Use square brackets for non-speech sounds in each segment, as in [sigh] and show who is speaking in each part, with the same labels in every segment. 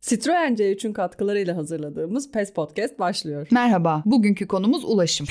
Speaker 1: Citroen C3'ün katkılarıyla hazırladığımız PES Podcast başlıyor.
Speaker 2: Merhaba, bugünkü konumuz ulaşım.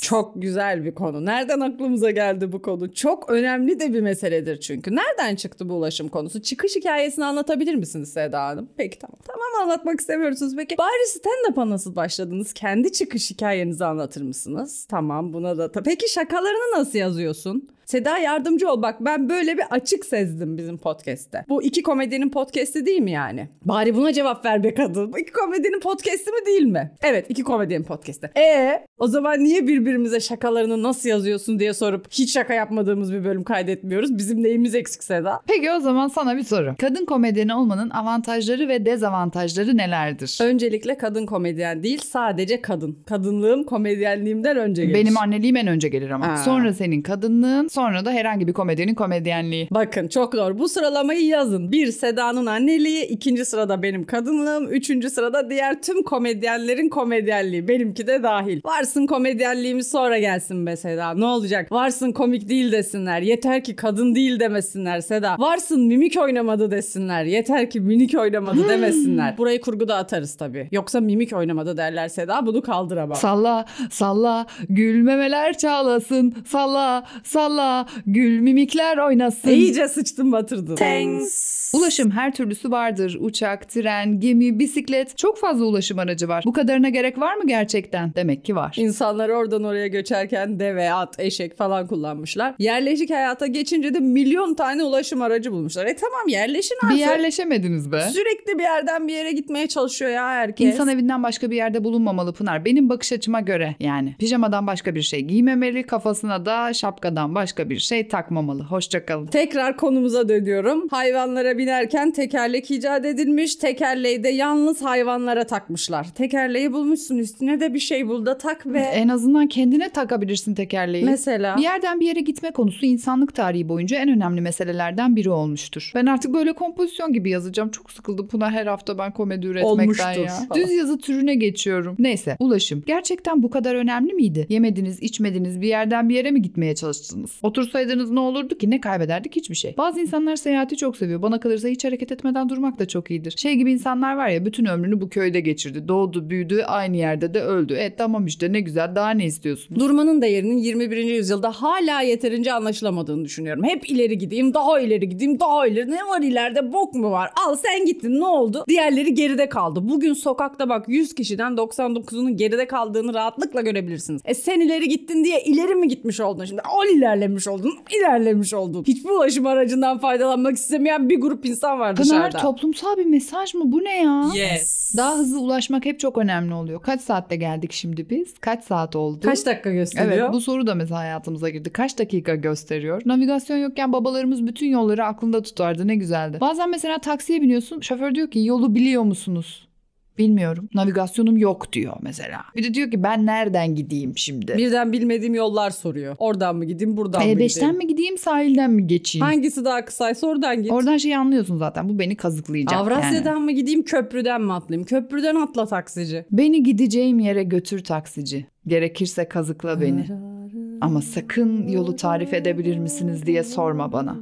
Speaker 1: Çok güzel bir konu. Nereden aklımıza geldi bu konu? Çok önemli de bir meseledir çünkü. Nereden çıktı bu ulaşım konusu? Çıkış hikayesini anlatabilir misiniz Seda Hanım? Peki tamam. Tamam anlatmak istemiyorsunuz. Peki bari stand-up'a nasıl başladınız? Kendi çıkış hikayenizi anlatır mısınız? Tamam buna da. ta- Peki şakalarını nasıl yazıyorsun? Seda yardımcı ol bak ben böyle bir açık sezdim bizim podcast'te. Bu iki komedinin podcast'i değil mi yani? Bari buna cevap ver be kadın. Bu iki komedinin podcast'i mi değil mi? Evet iki komedinin podcast'i. E o zaman niye birbirimize şakalarını nasıl yazıyorsun diye sorup hiç şaka yapmadığımız bir bölüm kaydetmiyoruz? Bizim neyimiz eksik Seda?
Speaker 2: Peki o zaman sana bir soru. Kadın komedyeni olmanın avantajları ve dezavantajları nelerdir?
Speaker 1: Öncelikle kadın komedyen değil sadece kadın. Kadınlığım komedyenliğimden önce gelir.
Speaker 2: Benim anneliğim en önce gelir ama.
Speaker 1: Ha.
Speaker 2: Sonra senin kadınlığın, sonra da herhangi bir komedyenin komedyenliği.
Speaker 1: Bakın çok doğru. Bu sıralamayı yazın. Bir Seda'nın anneliği, ikinci sırada benim kadınlığım, üçüncü sırada diğer tüm komedyenlerin komedyenliği. Benimki de dahil. Varsın komedyenliğimiz sonra gelsin be Seda. Ne olacak? Varsın komik değil desinler. Yeter ki kadın değil demesinler Seda. Varsın mimik oynamadı desinler. Yeter ki minik oynamadı demesinler. Burayı kurguda atarız tabii. Yoksa mimik oynamadı derler Seda. Bunu kaldıramam.
Speaker 2: Salla, salla, gülmemeler çağlasın. Salla, salla, gül mimikler oynasın.
Speaker 1: İyice sıçtın batırdın.
Speaker 2: Ulaşım her türlüsü vardır. Uçak, tren, gemi, bisiklet. Çok fazla ulaşım aracı var. Bu kadarına gerek var mı gerçekten? Demek ki var.
Speaker 1: İnsanlar oradan oraya göçerken deve, at, eşek falan kullanmışlar. Yerleşik hayata geçince de milyon tane ulaşım aracı bulmuşlar. E tamam yerleşin artık.
Speaker 2: Bir yerleşemediniz be.
Speaker 1: Sürekli bir yerden bir yere gitmeye çalışıyor ya herkes.
Speaker 2: İnsan evinden başka bir yerde bulunmamalı Pınar. Benim bakış açıma göre yani. Pijamadan başka bir şey giymemeli, kafasına da şapkadan başka bir şey takmamalı. Hoşçakalın.
Speaker 1: Tekrar konumuza dönüyorum. Hayvanlara binerken tekerlek icat edilmiş. Tekerleği de yalnız hayvanlara takmışlar. Tekerleği bulmuşsun üstüne de bir şey bul da tak ve...
Speaker 2: En azından kendine takabilirsin tekerleği.
Speaker 1: Mesela...
Speaker 2: E, bir yerden bir yere gitme konusu insanlık tarihi boyunca en önemli meselelerden biri olmuştur. Ben artık böyle kompozisyon gibi yazacağım. Çok sıkıldım Pınar her hafta ben komedi üretmekten
Speaker 1: Olmuştur
Speaker 2: ya.
Speaker 1: falan.
Speaker 2: Düz yazı türüne geçiyorum. Neyse ulaşım. Gerçekten bu kadar önemli miydi? Yemediniz içmediniz bir yerden bir yere mi gitmeye çalıştınız? Otursaydınız ne olurdu ki? Ne kaybederdik? Hiçbir şey. Bazı insanlar seyahati çok seviyor. Bana kalırsa hiç hareket etmeden durmak da çok iyidir. Şey gibi insanlar var ya bütün ömrünü bu köyde geçirdi. Doğdu büyüdü aynı yerde de öldü. E tamam işte ne güzel daha ne istiyorsun?
Speaker 1: Durmanın değerinin 21. yüzyılda hala yeterince anlaşılamadığını düşünüyorum. Hep ileri gideyim, daha ileri gideyim, daha ileri. Ne var ileride? Bok mu var? Al sen gittin ne oldu? Diğerleri geride kaldı. Bugün sokakta bak 100 kişiden 99'unun geride kaldığını rahatlıkla görebilirsiniz. E sen ileri gittin diye ileri mi gitmiş oldun şimdi? Al ilerlemiş oldun, ilerlemiş oldun. Hiçbir ulaşım aracından faydalanmak istemeyen bir grup insan var
Speaker 2: Pınar
Speaker 1: dışarıda.
Speaker 2: toplumsal bir mesaj mı? Bu ne ya?
Speaker 1: Yes.
Speaker 2: Daha hızlı ulaşmak hep çok önemli oluyor. Kaç saatte geldik şimdi biz? Kaç saat oldu?
Speaker 1: Kaç dakika gösteriyor?
Speaker 2: Evet bu soru da mesela hayatımıza girdi. Kaç dakika gösteriyor? Navigasyon yokken babalarımız bütün yolları aklında tutardı ne güzeldi. Bazen mesela taksiye biniyorsun şoför diyor ki yolu biliyor musunuz? Bilmiyorum. Navigasyonum yok diyor mesela. Bir de diyor ki ben nereden gideyim şimdi?
Speaker 1: Birden bilmediğim yollar soruyor. Oradan mı gideyim, buradan
Speaker 2: E
Speaker 1: mı gideyim?
Speaker 2: E5'ten mi gideyim sahilden mi geçeyim?
Speaker 1: Hangisi daha kısaysa oradan git.
Speaker 2: Oradan şeyi anlıyorsun zaten bu beni kazıklayacak. yani.
Speaker 1: Avrasya'dan mı gideyim köprüden mi atlayayım? Köprüden atla taksici.
Speaker 2: Beni gideceğim yere götür taksici. Gerekirse kazıkla beni. Ama sakın yolu tarif edebilir misiniz diye sorma bana.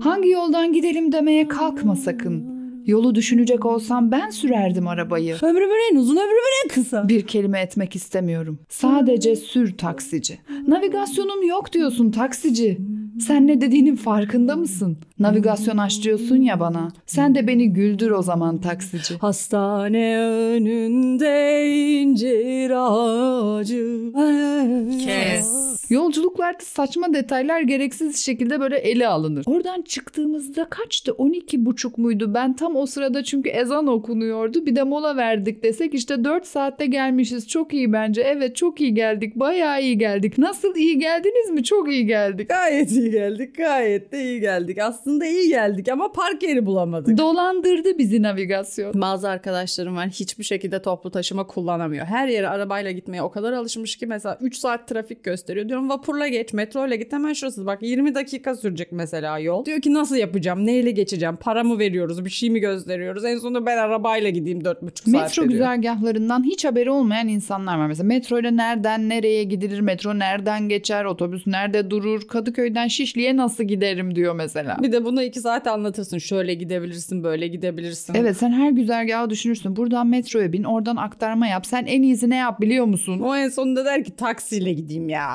Speaker 2: Hangi yoldan gidelim demeye kalkma sakın. Yolu düşünecek olsam ben sürerdim arabayı.
Speaker 1: Ömrümün en uzun ömrümün en kısa.
Speaker 2: Bir kelime etmek istemiyorum. Sadece sür taksici. Navigasyonum yok diyorsun taksici. Sen ne dediğinin farkında mısın? Navigasyon aç diyorsun ya bana. Sen de beni güldür o zaman taksici.
Speaker 1: Hastane önünde incir ağacı.
Speaker 3: Kes.
Speaker 2: Yolculuklarda saçma detaylar gereksiz şekilde böyle ele alınır. Oradan çıktığımızda kaçtı? 12 buçuk muydu? Ben tam o sırada çünkü ezan okunuyordu. Bir de mola verdik desek işte 4 saatte gelmişiz. Çok iyi bence. Evet çok iyi geldik. Bayağı iyi geldik. Nasıl iyi geldiniz mi? Çok iyi geldik.
Speaker 1: Gayet iyi geldik. Gayet de iyi geldik. Aslında iyi geldik ama park yeri bulamadık.
Speaker 2: Dolandırdı bizi navigasyon.
Speaker 1: Bazı arkadaşlarım var hiçbir şekilde toplu taşıma kullanamıyor. Her yere arabayla gitmeye o kadar alışmış ki mesela 3 saat trafik gösteriyor. Diyor atıyorum vapurla geç, metroyla git hemen şurası. Bak 20 dakika sürecek mesela yol. Diyor ki nasıl yapacağım, neyle geçeceğim, para mı veriyoruz, bir şey mi gösteriyoruz. En sonunda ben arabayla gideyim 4,5 saat
Speaker 2: Metro güzergahlarından hiç haberi olmayan insanlar var. Mesela metroyla nereden nereye gidilir, metro nereden geçer, otobüs nerede durur, Kadıköy'den Şişli'ye nasıl giderim diyor mesela.
Speaker 1: Bir de bunu 2 saat anlatırsın. Şöyle gidebilirsin, böyle gidebilirsin.
Speaker 2: Evet sen her güzergahı düşünürsün. Buradan metroya bin, oradan aktarma yap. Sen en iyisi ne yap biliyor musun?
Speaker 1: O en sonunda der ki taksiyle gideyim ya.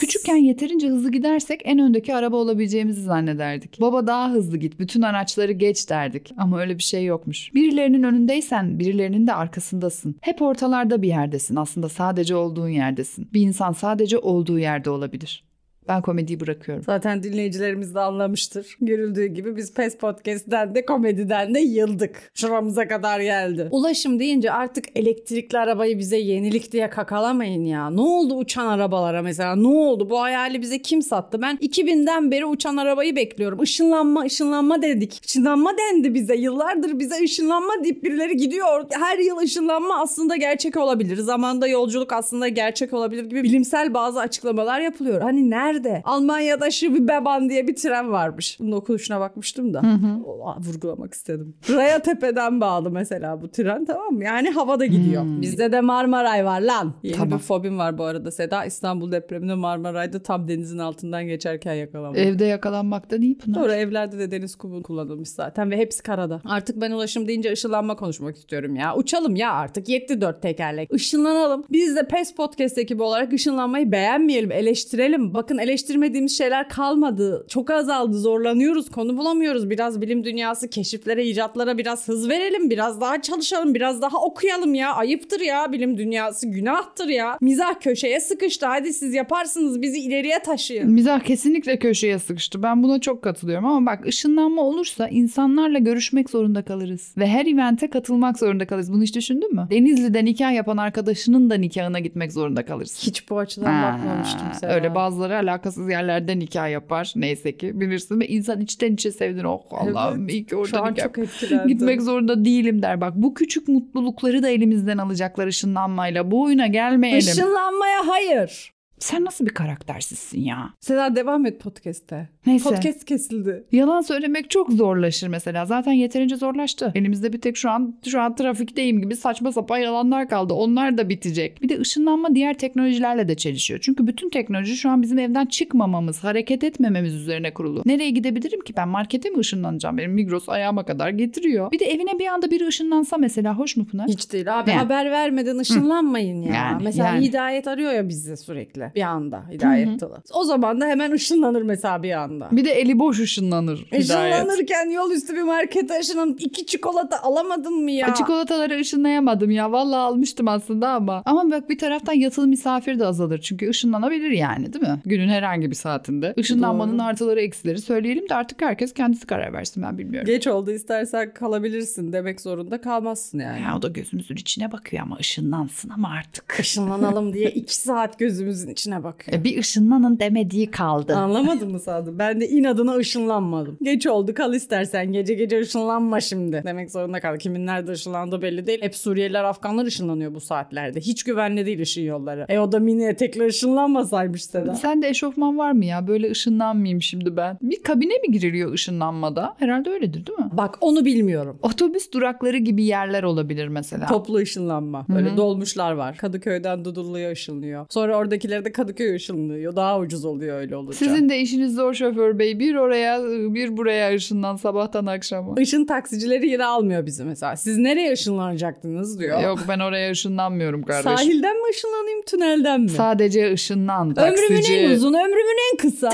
Speaker 2: Küçükken yeterince hızlı gidersek en öndeki araba olabileceğimizi zannederdik. Baba daha hızlı git, bütün araçları geç derdik. Ama öyle bir şey yokmuş. Birilerinin önündeysen birilerinin de arkasındasın. Hep ortalarda bir yerdesin. Aslında sadece olduğun yerdesin. Bir insan sadece olduğu yerde olabilir. Ben komediyi bırakıyorum.
Speaker 1: Zaten dinleyicilerimiz de anlamıştır. Görüldüğü gibi biz PES Podcast'den de komediden de yıldık. Şuramıza kadar geldi. Ulaşım deyince artık elektrikli arabayı bize yenilik diye kakalamayın ya. Ne oldu uçan arabalara mesela? Ne oldu? Bu hayali bize kim sattı? Ben 2000'den beri uçan arabayı bekliyorum. Işınlanma, ışınlanma dedik. Işınlanma dendi bize. Yıllardır bize ışınlanma deyip birileri gidiyor. Her yıl ışınlanma aslında gerçek olabilir. Zamanda yolculuk aslında gerçek olabilir gibi bilimsel bazı açıklamalar yapılıyor. Hani nerede? Almanya'da Şibi Beban diye bir tren varmış. Bunun okuyuşuna bakmıştım da. O- Vurgulamak istedim. Raya Tepe'den bağlı mesela bu tren tamam mı? Yani havada gidiyor. Bizde de Marmaray var lan. Yeni
Speaker 2: Tamam.
Speaker 1: bir fobim var bu arada Seda. İstanbul depreminde Marmaray'da tam denizin altından geçerken yakalanmış.
Speaker 2: Evde yakalanmakta değil Pınar.
Speaker 1: Doğru evlerde de deniz kumu kullanılmış zaten ve hepsi karada. Artık ben ulaşım deyince ışınlanma konuşmak istiyorum ya. Uçalım ya artık yetti dört tekerlek. Işınlanalım. Biz de PES Podcast ekibi olarak ışınlanmayı beğenmeyelim, eleştirelim. Bakın eleştirmediğimiz şeyler kalmadı. Çok azaldı, zorlanıyoruz, konu bulamıyoruz. Biraz bilim dünyası keşiflere, icatlara biraz hız verelim. Biraz daha çalışalım, biraz daha okuyalım ya. Ayıptır ya bilim dünyası, günahtır ya. Mizah köşeye sıkıştı. Hadi siz yaparsınız, bizi ileriye taşıyın.
Speaker 2: Mizah kesinlikle köşeye sıkıştı. Ben buna çok katılıyorum ama bak ışınlanma olursa insanlarla görüşmek zorunda kalırız. Ve her evente katılmak zorunda kalırız. Bunu hiç düşündün mü? Denizli'de nikah yapan arkadaşının da nikahına gitmek zorunda kalırız.
Speaker 1: Hiç bu açıdan
Speaker 2: Ha,
Speaker 1: bakmamıştım Seda.
Speaker 2: Öyle bazıları alakasız yerlerde nikah yapar. Neyse ki bilirsin ve insan içten içe sevinir. Oh Allah'ım iyi ki
Speaker 1: Şu
Speaker 2: orada
Speaker 1: an
Speaker 2: nikah
Speaker 1: çok etkilendim.
Speaker 2: Gitmek zorunda değilim der. Bak bu küçük mutlulukları da elimizden alacaklar ışınlanmayla. Bu oyuna gelmeyelim.
Speaker 1: Işınlanmaya hayır.
Speaker 2: Sen nasıl bir karaktersizsin ya?
Speaker 1: Seda devam et podcast'te.
Speaker 2: Neyse.
Speaker 1: Podcast kesildi.
Speaker 2: Yalan söylemek çok zorlaşır mesela. Zaten yeterince zorlaştı. Elimizde bir tek şu an şu an trafikteyim gibi saçma sapan yalanlar kaldı. Onlar da bitecek. Bir de ışınlanma diğer teknolojilerle de çelişiyor. Çünkü bütün teknoloji şu an bizim evden çıkmamamız, hareket etmememiz üzerine kurulu. Nereye gidebilirim ki ben? Markete mi ışınlanacağım? Benim Migros ayağıma kadar getiriyor. Bir de evine bir anda biri ışınlansa mesela hoş mu Pınar?
Speaker 1: Hiç değil abi.
Speaker 2: Yani.
Speaker 1: Haber vermeden ışınlanmayın ya.
Speaker 2: Yani,
Speaker 1: mesela
Speaker 2: yani.
Speaker 1: Hidayet arıyor ya bizi sürekli. Bir anda Hidayet Tılı. O zaman da hemen ışınlanır mesela bir anda.
Speaker 2: Bir de eli boş ışınlanır. Hidayet.
Speaker 1: Işınlanırken yol üstü bir markete ışınlanıp iki çikolata alamadın mı ya?
Speaker 2: Ay, Çikolataları ışınlayamadım ya. Vallahi almıştım aslında ama. Ama bak bir taraftan yatılı misafir de azalır. Çünkü ışınlanabilir yani değil mi? Günün herhangi bir saatinde. Işınlanmanın
Speaker 1: Doğru.
Speaker 2: artıları eksileri söyleyelim de artık herkes kendisi karar versin ben bilmiyorum.
Speaker 1: Geç oldu istersen kalabilirsin demek zorunda kalmazsın yani.
Speaker 2: Ya o da gözümüzün içine bakıyor ama ışınlansın ama artık.
Speaker 1: Işınlanalım diye iki saat gözümüzün içine bakıyor.
Speaker 2: E, bir ışınlanın demediği kaldı.
Speaker 1: Anlamadın mı sandın? Ben de inadına ışınlanmadım. Geç oldu kal istersen gece gece ışınlanma şimdi. Demek zorunda kal. Kimin nerede ışınlandığı belli değil. Hep Suriyeliler Afganlar ışınlanıyor bu saatlerde. Hiç güvenli değil ışın yolları. E o da mini etekle ışınlanmasaymış Seda.
Speaker 2: Sen de eşofman var mı ya? Böyle ışınlanmayayım şimdi ben. Bir kabine mi giriliyor ışınlanmada? Herhalde öyledir değil mi?
Speaker 1: Bak onu bilmiyorum.
Speaker 2: Otobüs durakları gibi yerler olabilir mesela.
Speaker 1: Toplu ışınlanma. Böyle dolmuşlar var. Kadıköy'den Dudullu'ya ışınlıyor. Sonra oradakileri de Kadıköy'e ışınlıyor. Daha ucuz oluyor öyle olunca.
Speaker 2: Sizin de işiniz zor şoför bey. Bir oraya bir buraya ışından sabahtan akşama.
Speaker 1: Işın taksicileri yine almıyor bizi mesela. Siz nereye ışınlanacaktınız diyor.
Speaker 2: Yok ben oraya ışınlanmıyorum kardeşim.
Speaker 1: Sahilden mi ışınlanayım tünelden mi?
Speaker 2: Sadece ışınlan taksici.
Speaker 1: Ömrümün en uzun, ömrümün en kısa.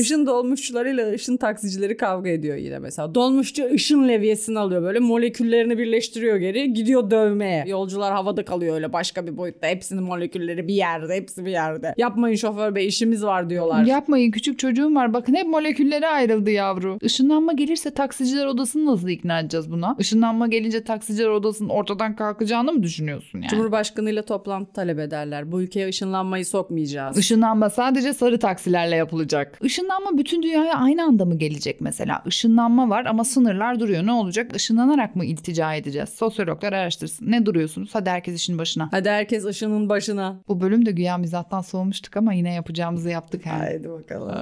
Speaker 1: Işın dolmuşçularıyla ışın taksicileri kavga ediyor yine mesela. Dolmuşçu ışın leviyesini alıyor böyle moleküllerini birleştiriyor geri gidiyor dövmeye. Yolcular havada kalıyor öyle başka bir boyutta. Hepsinin molekülleri bir yerde, hepsi bir yerde. Yapmayın şoför bey işimiz var diyorlar.
Speaker 2: Yapmayın küçük çocuğum var. Bakın hep moleküllere ayrıldı yavru. Işınlanma gelirse taksiciler odasını nasıl ikna edeceğiz buna? Işınlanma gelince taksiciler odasının ortadan kalkacağını mı düşünüyorsun yani?
Speaker 1: Cumhurbaşkanıyla toplantı talep ederler. Bu ülkeye ışınlanmayı sokmayacağız.
Speaker 2: Işınlanma sadece sarı taksilerle yapılacak. Işınlanma bütün dünyaya aynı anda mı gelecek mesela? Işınlanma var ama sınırlar duruyor. Ne olacak? Işınlanarak mı iltica edeceğiz? Sosyologlar araştırsın. Ne duruyorsunuz? Hadi herkes işin başına.
Speaker 1: Hadi herkes ışının başına.
Speaker 2: Bu bölüm de güya mizahtan soğumuştuk ama yine yapacağımızı yaptık. Yani.
Speaker 1: Haydi bakalım.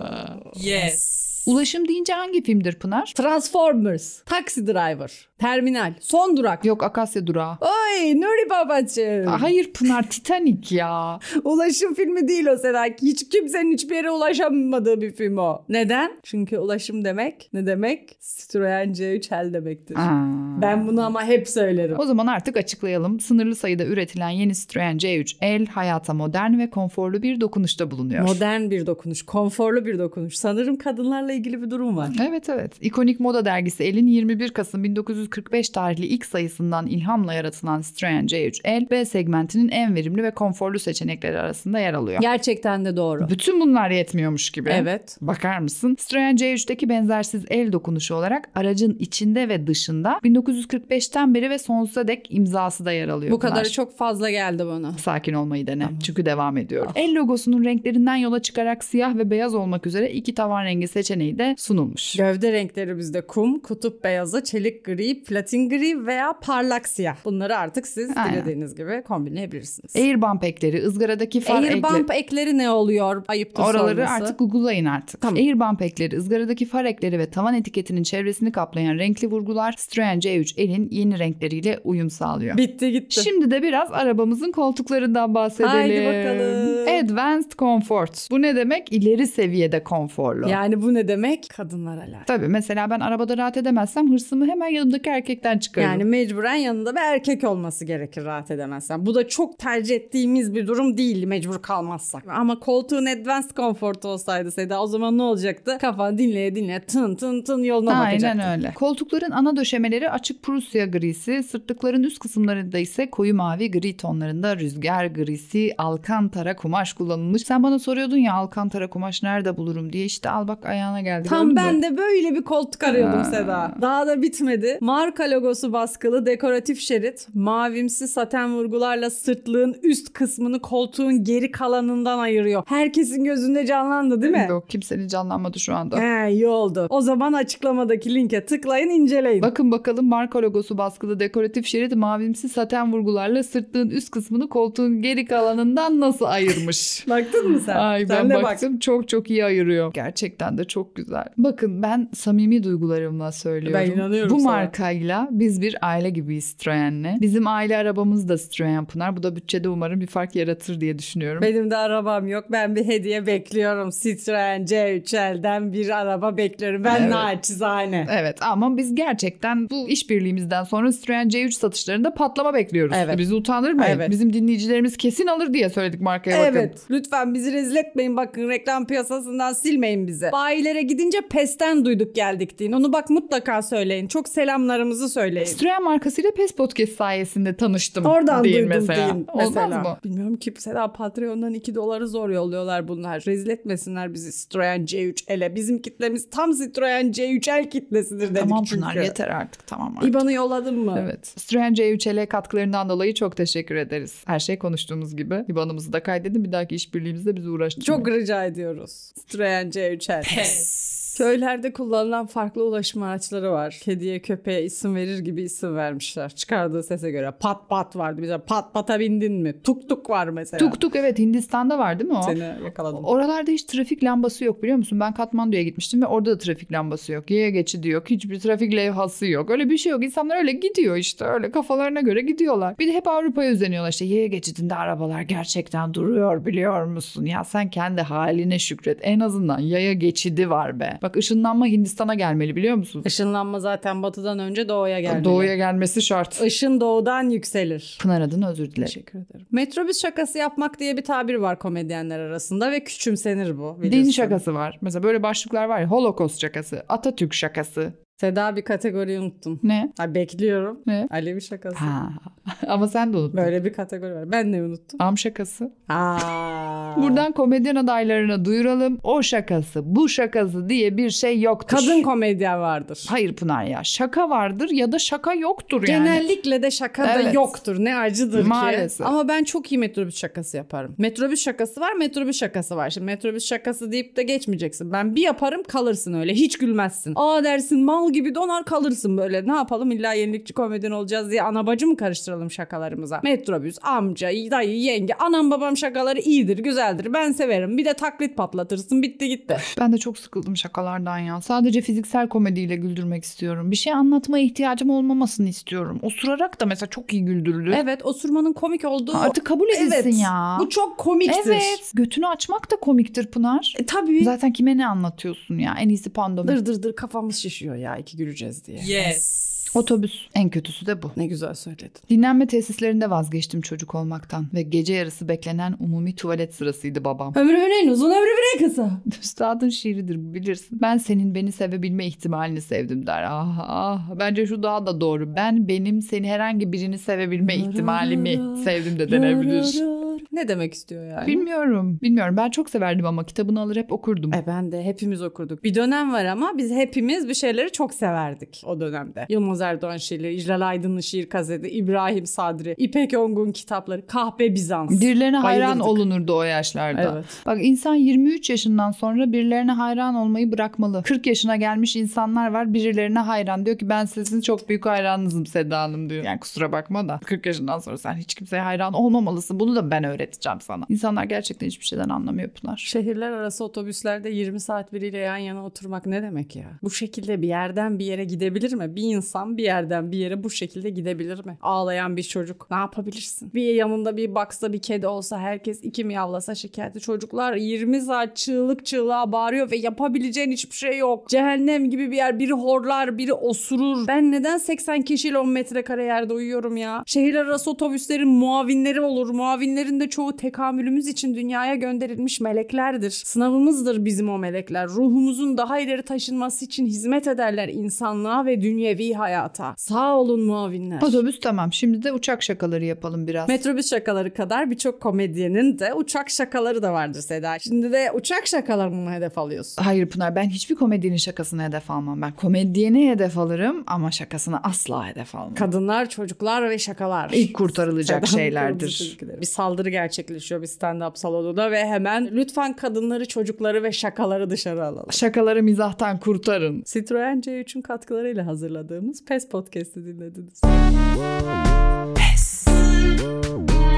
Speaker 3: Yes.
Speaker 2: Ulaşım deyince hangi filmdir Pınar?
Speaker 1: Transformers, Taxi Driver, Terminal, Son Durak.
Speaker 2: Yok Akasya Durağı.
Speaker 1: Oy Nuri babacığım.
Speaker 2: Hayır Pınar Titanic [laughs] ya.
Speaker 1: Ulaşım filmi değil o Sedat. Hiç kimsenin hiçbir yere ulaşamadığı bir film o. Neden? Çünkü ulaşım demek ne demek? Citroen C3 L demektir.
Speaker 2: Aa.
Speaker 1: Ben bunu ama hep söylerim.
Speaker 2: O zaman artık açıklayalım. Sınırlı sayıda üretilen yeni Citroen C3 el hayata modern ve konforlu bir dokunuşta bulunuyor.
Speaker 1: Modern bir dokunuş, konforlu bir dokunuş. Sanırım kadınlarla ilgili bir durum var.
Speaker 2: Evet evet. İkonik moda dergisi El'in 21 Kasım 1945 tarihli ilk sayısından ilhamla yaratılan Citroen C3 El, B segmentinin en verimli ve konforlu seçenekleri arasında yer alıyor.
Speaker 1: Gerçekten de doğru.
Speaker 2: Bütün bunlar yetmiyormuş gibi.
Speaker 1: Evet.
Speaker 2: Bakar mısın? Citroen C3'teki benzersiz el dokunuşu olarak aracın içinde ve dışında 1945'ten beri ve sonsuza dek imzası da yer alıyor.
Speaker 1: Bu
Speaker 2: Pınar.
Speaker 1: kadarı çok fazla geldi bana.
Speaker 2: Sakin olmayı dene.
Speaker 1: Tamam.
Speaker 2: Çünkü devam ediyorum.
Speaker 1: Ah.
Speaker 2: El logosunun renklerinden yola çıkarak siyah ve beyaz olmak üzere iki tavan rengi seçeneği de sunulmuş.
Speaker 1: Gövde renkleri bizde kum, kutup beyazı, çelik gri, platin gri veya parlak siyah. Bunları artık siz
Speaker 2: Aynen.
Speaker 1: dilediğiniz gibi kombinleyebilirsiniz.
Speaker 2: Airbump ekleri, ızgaradaki far ekleri.
Speaker 1: Airbump ekleri ne oluyor? Ayıptır
Speaker 2: Oraları
Speaker 1: sorması.
Speaker 2: artık google'layın artık.
Speaker 1: Tamam.
Speaker 2: Airbump ekleri, ızgaradaki far ekleri ve tavan etiketinin çevresini kaplayan renkli vurgular Citroen C3 elin yeni renkleriyle uyum sağlıyor.
Speaker 1: bitti gitti.
Speaker 2: Şimdi de biraz arabamızın koltuklarından bahsedelim.
Speaker 1: Haydi bakalım.
Speaker 2: Advanced Comfort. Bu ne demek? İleri seviyede konforlu.
Speaker 1: yani bu ne demek? Kadınlar alakalı.
Speaker 2: Tabii mesela ben arabada rahat edemezsem hırsımı hemen yanımdaki erkekten çıkarırım.
Speaker 1: Yani mecburen yanında bir erkek olması gerekir rahat edemezsen. Bu da çok tercih ettiğimiz bir durum değil mecbur kalmazsak. Ama koltuğun advanced konfortu olsaydı Seda o zaman ne olacaktı? Kafan dinleye dinleye tın tın tın yoluna bakacaktı.
Speaker 2: Aynen öyle. Koltukların ana döşemeleri açık Prusya grisi, sırtlıkların üst kısımlarında ise koyu mavi gri tonlarında rüzgar grisi, alkantara kumaş kullanılmış. Sen bana soruyordun ya alkantara kumaş nerede bulurum diye işte al bak ayağına geldi. gördün
Speaker 1: Tam
Speaker 2: mü?
Speaker 1: ben de böyle bir koltuk arıyordum
Speaker 2: Ha.
Speaker 1: Seda. Daha da bitmedi. Marka logosu baskılı dekoratif şerit, mavimsi saten vurgularla sırtlığın üst kısmını koltuğun geri kalanından ayırıyor. Herkesin gözünde canlandı değil mi?
Speaker 2: Yok kimsenin canlanmadı şu anda.
Speaker 1: He iyi oldu. O zaman açıklamadaki linke tıklayın inceleyin.
Speaker 2: Bakın bakalım marka logosu baskılı dekoratif şerit mavimsi saten vurgularla sırtlığın üst kısmını koltuğun geri kalanından
Speaker 1: [laughs]
Speaker 2: nasıl ayırmış?
Speaker 1: Baktın mı sen?
Speaker 2: Ay
Speaker 1: sen
Speaker 2: ben
Speaker 1: de
Speaker 2: baktım çok çok iyi ayırıyor. Gerçekten de çok güzel. Bakın ben samimi duygularımla söylüyorum.
Speaker 1: Ben inanıyorum
Speaker 2: Bu
Speaker 1: sana.
Speaker 2: markayla biz bir aile gibiyiz Citroen'le. Bizim aile arabamız da Citroen Pınar. Bu da bütçede umarım bir fark yaratır diye düşünüyorum.
Speaker 1: Benim de arabam yok. Ben bir hediye bekliyorum. Citroen C3L'den bir araba bekliyorum. Ben
Speaker 2: Evet.
Speaker 1: naçizane.
Speaker 2: Evet ama biz gerçekten bu işbirliğimizden sonra Citroen C3 satışlarında patlama bekliyoruz.
Speaker 1: Evet.
Speaker 2: Bizi utandırmayın.
Speaker 1: Evet.
Speaker 2: Bizim dinleyicilerimiz kesin alır diye söyledik markaya bakın.
Speaker 1: Evet lütfen bizi rezil etmeyin bakın reklam piyasasından silmeyin bizi. Bayilere gidince pesten duyduk geldik deyin. Onu bak mutlaka söyleyin. Çok selamlarımızı söyleyin.
Speaker 2: Citroen markasıyla PES Podcast sayesinde tanıştım.
Speaker 1: Oradan
Speaker 2: deyin
Speaker 1: duydum
Speaker 2: mesela.
Speaker 1: deyin.
Speaker 2: Olmaz
Speaker 1: mesela.
Speaker 2: mı?
Speaker 1: Bilmiyorum ki mesela Patreon'dan 2 doları zor yolluyorlar bunlar. Rezil etmesinler bizi Citroen C3L'e. Bizim kitlemiz tam Citroen C3L kitlesidir dedik
Speaker 2: Tamam
Speaker 1: çünkü.
Speaker 2: Pınar yeter artık tamam artık.
Speaker 1: İban'ı yolladın mı?
Speaker 2: Evet. Citroen C3L katkılarından dolayı çok teşekkür ederiz. Her şey konuştuğumuz gibi. IBAN'ımızı da kaydedin. Bir dahaki işbirliğimizde bizi uğraştırmayın.
Speaker 1: Çok rica ediyoruz. Citroen C3L.
Speaker 3: Yes.
Speaker 1: Köylerde kullanılan farklı ulaşım araçları var. Kediye köpeğe isim verir gibi isim vermişler. Çıkardığı sese göre pat pat vardı. Mesela pat pata bindin mi? Tuk tuk var mesela.
Speaker 2: Tuk tuk evet Hindistan'da var değil mi o?
Speaker 1: Seni yakaladım.
Speaker 2: Oralarda hiç trafik lambası yok biliyor musun? Ben Katmandu'ya gitmiştim ve orada da trafik lambası yok. Yaya geçidi yok. Hiçbir trafik levhası yok. Öyle bir şey yok. İnsanlar öyle gidiyor işte. Öyle kafalarına göre gidiyorlar. Bir de hep Avrupa'ya özeniyorlar. İşte yaya geçidinde arabalar gerçekten duruyor biliyor musun? Ya sen kendi haline şükret. En azından yaya geçidi var be. Bak ışınlanma Hindistan'a gelmeli biliyor musun?
Speaker 1: Işınlanma zaten batıdan önce doğuya gelmeli.
Speaker 2: Doğuya gelmesi şart.
Speaker 1: Işın doğudan yükselir.
Speaker 2: Pınar adına özür dilerim.
Speaker 1: Teşekkür ederim. Metrobüs şakası yapmak diye bir tabir var komedyenler arasında ve küçümsenir bu.
Speaker 2: Din
Speaker 1: biliyorsun.
Speaker 2: şakası var. Mesela böyle başlıklar var ya. Holocaust şakası, Atatürk şakası.
Speaker 1: Seda bir kategori unuttum.
Speaker 2: Ne?
Speaker 1: Ha, bekliyorum.
Speaker 2: Ne?
Speaker 1: Alevi şakası.
Speaker 2: Ha. [laughs] Ama sen de unuttun.
Speaker 1: Böyle bir kategori var. Ben de unuttum.
Speaker 2: Am şakası.
Speaker 1: [laughs] Aa.
Speaker 2: Buradan komedyen adaylarına duyuralım. O şakası, bu şakası diye bir şey yoktur.
Speaker 1: kadın komedyen vardır.
Speaker 2: Hayır Pınar ya. Şaka vardır ya da şaka yoktur yani.
Speaker 1: Genellikle de şaka da
Speaker 2: Evet.
Speaker 1: yoktur. Ne acıdır ki.
Speaker 2: Maalesef.
Speaker 1: Ama ben çok iyi metrobüs şakası yaparım. Metrobüs şakası var, metrobüs şakası var. Şimdi metrobüs şakası deyip de geçmeyeceksin. Ben bir yaparım kalırsın öyle. Hiç gülmezsin. Aa dersin mal gibi donar kalırsın böyle. Ne yapalım illa yenilikçi komedyen olacağız diye anabacı mı karıştıralım şakalarımıza? Metrobüs, amca, dayı, yenge, anam babam şakaları iyidir. iyidir, güzeldir. Ben severim. Bir de taklit patlatırsın. Bitti gitti.
Speaker 2: Ben de çok sıkıldım şakalardan ya. Sadece fiziksel komediyle güldürmek istiyorum. Bir şey anlatmaya ihtiyacım olmamasını istiyorum. Osurarak da mesela çok iyi güldürülür.
Speaker 1: evet, osurmanın komik olduğu
Speaker 2: Ha, Artık kabul edilsin
Speaker 1: Evet,
Speaker 2: ya.
Speaker 1: Bu çok komiktir.
Speaker 2: Evet. Götünü açmak da komiktir Pınar.
Speaker 1: E, tabii.
Speaker 2: Zaten kime ne anlatıyorsun ya? En iyisi pandomi.
Speaker 1: Dır dır dır kafamız şişiyor ya iki güleceğiz diye.
Speaker 3: Yes.
Speaker 2: Otobüs. En kötüsü de bu.
Speaker 1: Ne güzel söyledin.
Speaker 2: Dinlenme tesislerinde vazgeçtim çocuk olmaktan ve gece yarısı beklenen umumi tuvalet sırasıydı babam. [laughs]
Speaker 1: Ömrümün en uzun ömrü bir en kısa.
Speaker 2: Üstadın şiiridir bu, bilirsin. Ben senin beni sevebilme ihtimalini sevdim der. Ah ah bence şu daha da doğru. Ben benim seni herhangi birini sevebilme ihtimalimi sevdim de denebilir.
Speaker 1: Ne demek istiyor yani?
Speaker 2: Bilmiyorum. Bilmiyorum. Ben çok severdim ama kitabını alır hep okurdum.
Speaker 1: E ben de hepimiz okurduk. Bir dönem var ama biz hepimiz bir şeyleri çok severdik o dönemde. Yılmaz Erdoğan şiirleri, İclal Aydın'ın şiir kaseti, İbrahim Sadri, İpek Ongun kitapları, Kahpe Bizans.
Speaker 2: Birilerine hayran
Speaker 1: Bayılırdık.
Speaker 2: olunurdu o yaşlarda.
Speaker 1: Evet.
Speaker 2: Bak insan 23 yaşından sonra birilerine hayran olmayı bırakmalı. 40 yaşına gelmiş insanlar var birilerine hayran. Diyor ki ben sizin çok büyük hayranınızım Seda Hanım diyor. Yani kusura bakma da 40 yaşından sonra sen hiç kimseye hayran olmamalısın. Bunu da ben öğreteceğim sana. İnsanlar gerçekten hiçbir şeyden anlamıyor Pınar.
Speaker 1: Şehirler arası otobüslerde 20 saat biriyle yan yana oturmak ne demek ya? Bu şekilde bir yerden bir yere gidebilir mi? Bir insan bir yerden bir yere bu şekilde gidebilir mi? Ağlayan bir çocuk ne yapabilirsin? Bir yanında bir baksa bir kedi olsa herkes iki miyavlasa şikayeti. Çocuklar 20 saat çığlık çığlığa bağırıyor ve yapabileceğin hiçbir şey yok. Cehennem gibi bir yer biri horlar biri osurur. Ben neden 80 kişiyle 10 metrekare yerde uyuyorum ya? Şehirler arası otobüslerin muavinleri olur. Muavinlerin de çoğu tekamülümüz için dünyaya gönderilmiş meleklerdir. Sınavımızdır bizim o melekler. Ruhumuzun daha ileri taşınması için hizmet ederler insanlığa ve dünyevi hayata. Sağ olun muavinler.
Speaker 2: Otobüs tamam. Şimdi de uçak şakaları yapalım biraz.
Speaker 1: Metrobüs şakaları kadar birçok komedyenin de uçak şakaları da vardır Seda. Şimdi de uçak şakalarını mı hedef alıyorsun?
Speaker 2: Hayır Pınar ben hiçbir komedinin şakasını hedef almam. Ben komedyene hedef alırım ama şakasını asla hedef almam.
Speaker 1: Kadınlar, çocuklar ve şakalar.
Speaker 2: İlk kurtarılacak
Speaker 1: Sedan
Speaker 2: şeylerdir.
Speaker 1: Kırmızı Tilkileri. Bir saldırı gerçekleşiyor bir stand-up salonunda ve hemen lütfen kadınları, çocukları ve şakaları dışarı alalım.
Speaker 2: Şakaları mizahtan kurtarın.
Speaker 1: Citroen C3'ün katkılarıyla E E hazırladığımız PES Podcast'ı dinlediniz.
Speaker 3: Yes.
Speaker 1: E E